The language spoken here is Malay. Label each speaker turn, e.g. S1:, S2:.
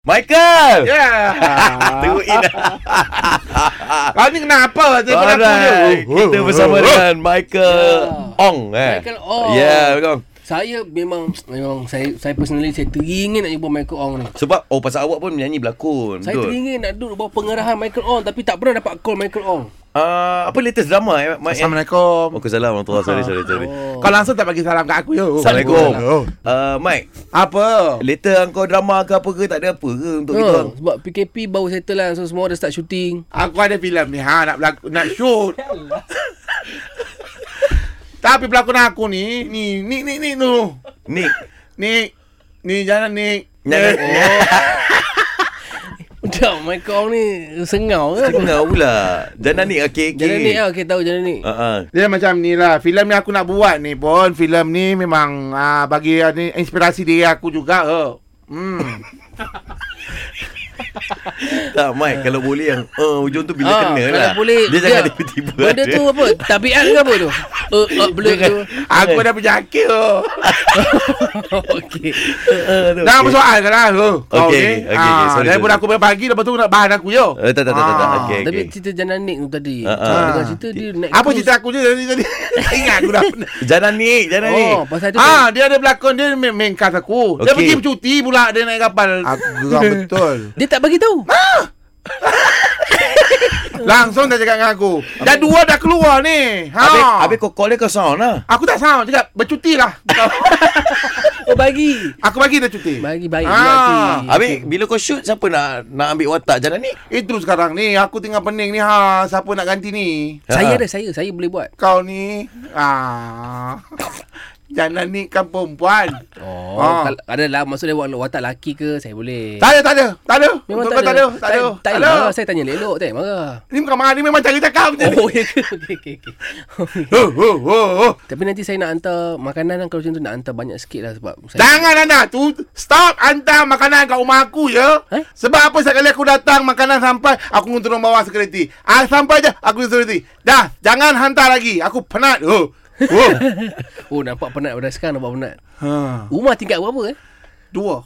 S1: Michael!
S2: Ya. Yeah.
S1: Teruk in
S2: Kau ni kenapa? Saya pun aku je.
S1: Alright, Kita bersama
S2: Oh.
S1: dengan Michael
S3: Yeah.
S1: Ong eh.
S3: Ya. Michael Ong.
S1: Yeah, Michael Ong.
S3: Saya memang memang saya saya personally saya teringin nak jumpa Michael Ong ni.
S1: Sebab oh pasal awak pun menyanyi berlakon
S3: Saya
S1: betul.
S3: teringin nak duduk buat pengarahan Michael Ong tapi tak pernah dapat call Michael Ong.
S1: Ah, apa latest drama eh? Mike, eh?
S2: Assalamualaikum.
S1: Waalaikumsalam warahmatullahi sorry sorry sorry.
S3: Oh.
S2: Kau langsung tak bagi salam kat aku yo.
S1: Assalamualaikum.
S2: Oh.
S1: Uh, Mike,
S2: Apa?
S1: later kau drama ke apa ke tak ada apa ke untuk kita
S3: Oh,
S1: orang?
S3: sebab PKP baru settle lah So semua dah start shooting
S2: Aku ada filem ni ha nak berlaku, nak shoot. Tapi pelakon aku ni, ni ni ni ni tu.
S1: Nick.
S2: Ni ni jangan ni.
S1: Jangan.
S3: Udah Michael Ong ni Sengau ke apa
S1: Tengah pula. Jangan Nick okey okey.
S3: Jalan ni lah Okay tahu jalan ni
S1: Ha ah.
S2: Dia macam ni lah Filem yang aku nak buat ni pun Filem ni memang uh, Bagi uh, ni, inspirasi diri aku juga oh. Hmm.
S1: Tak Mike kalau boleh yang uh, hujung tu bila kena
S3: Ah, kalau
S1: lah.
S3: boleh ya.
S1: dia jangan tiba-tiba.
S3: Benda
S1: ada.
S3: tu apa Tabiat ke apa tu uh, uh, Belum tu
S2: Aku dah berjakit oh.
S3: Okay
S1: Ah, tu,
S2: Dah apa
S1: okey.
S2: soal kan lah oh, Kau
S1: Okey,
S2: ni
S1: okey, okey, sorry,
S2: Daripada
S1: sorry.
S2: aku main pagi Lepas tu nak bahan aku yo
S1: Eh, tak, tak, tak, tak, tak.
S2: Ah.
S1: Okey, okey.
S3: Tapi cerita Janan Nick tu tadi
S1: Ah,
S3: Cakap
S2: ah.
S3: Dengan cerita dia naik
S2: Apa
S3: cruise.
S2: cerita aku je tadi tadi Tak Ingat aku dah
S1: Jangan Nick, jangan Nick.
S3: Oh pasal tu
S2: Ah, dia ada berlakon dia main, main cast aku. Dia
S1: Okey.
S2: pergi bercuti pula dia naik kapal.
S4: Aku geram betul.
S3: Dia tak bagi tahu.
S2: Langsung dia cakap dengan aku. Dah dua dah keluar ni. Ha.
S1: Habis,
S3: Ah.
S1: habis kau call dia kau sound lah.
S2: Aku tak sanggup cakap bercuti lah.
S3: Oh bagi.
S2: aku bagi dia cuti.
S3: Bagi baik
S2: Ah.
S3: ah.
S1: Habis bila kau shoot siapa nak nak ambil watak jangan Nick?
S2: Itu sekarang ni aku tinggal pening ni ha siapa nak ganti ni?
S1: Ha.
S3: Saya ada saya saya boleh buat.
S2: Kau ni ah jangan ni kan perempuan.
S3: Oh,
S2: Ah.
S3: kalau ada lah maksud dia buat watak lelaki ke saya boleh.
S2: Tak ada tak ada. Tak ada.
S3: Memang
S2: Betul
S3: tak,
S2: kau tak ada. Tak ada.
S3: Tak, tak
S2: Tak ada.
S3: elok lah. Saya tanya elok tak payah marah.
S2: Ni bukan marah ni memang cari cakap macam ni.
S3: Oh, ya ke? Okey, okey, okey. Okey.
S2: Oh, oh, oh, oh.
S3: Tapi nanti saya nak hantar makanan lah kalau macam tu nak hantar banyak sikit lah sebab saya
S2: Jangan anda tu stop hantar makanan kat rumah aku ya.
S3: Eh?
S2: Sebab apa sekali aku datang makanan sampai aku turun bawah security. Ah sampai je aku security. Dah jangan hantar lagi. Aku penat. Oh. Oh.
S3: Oh, nampak penat pada sekarang nampak penat.
S2: ha.
S3: Rumah tingkat berapa eh?
S2: Dua.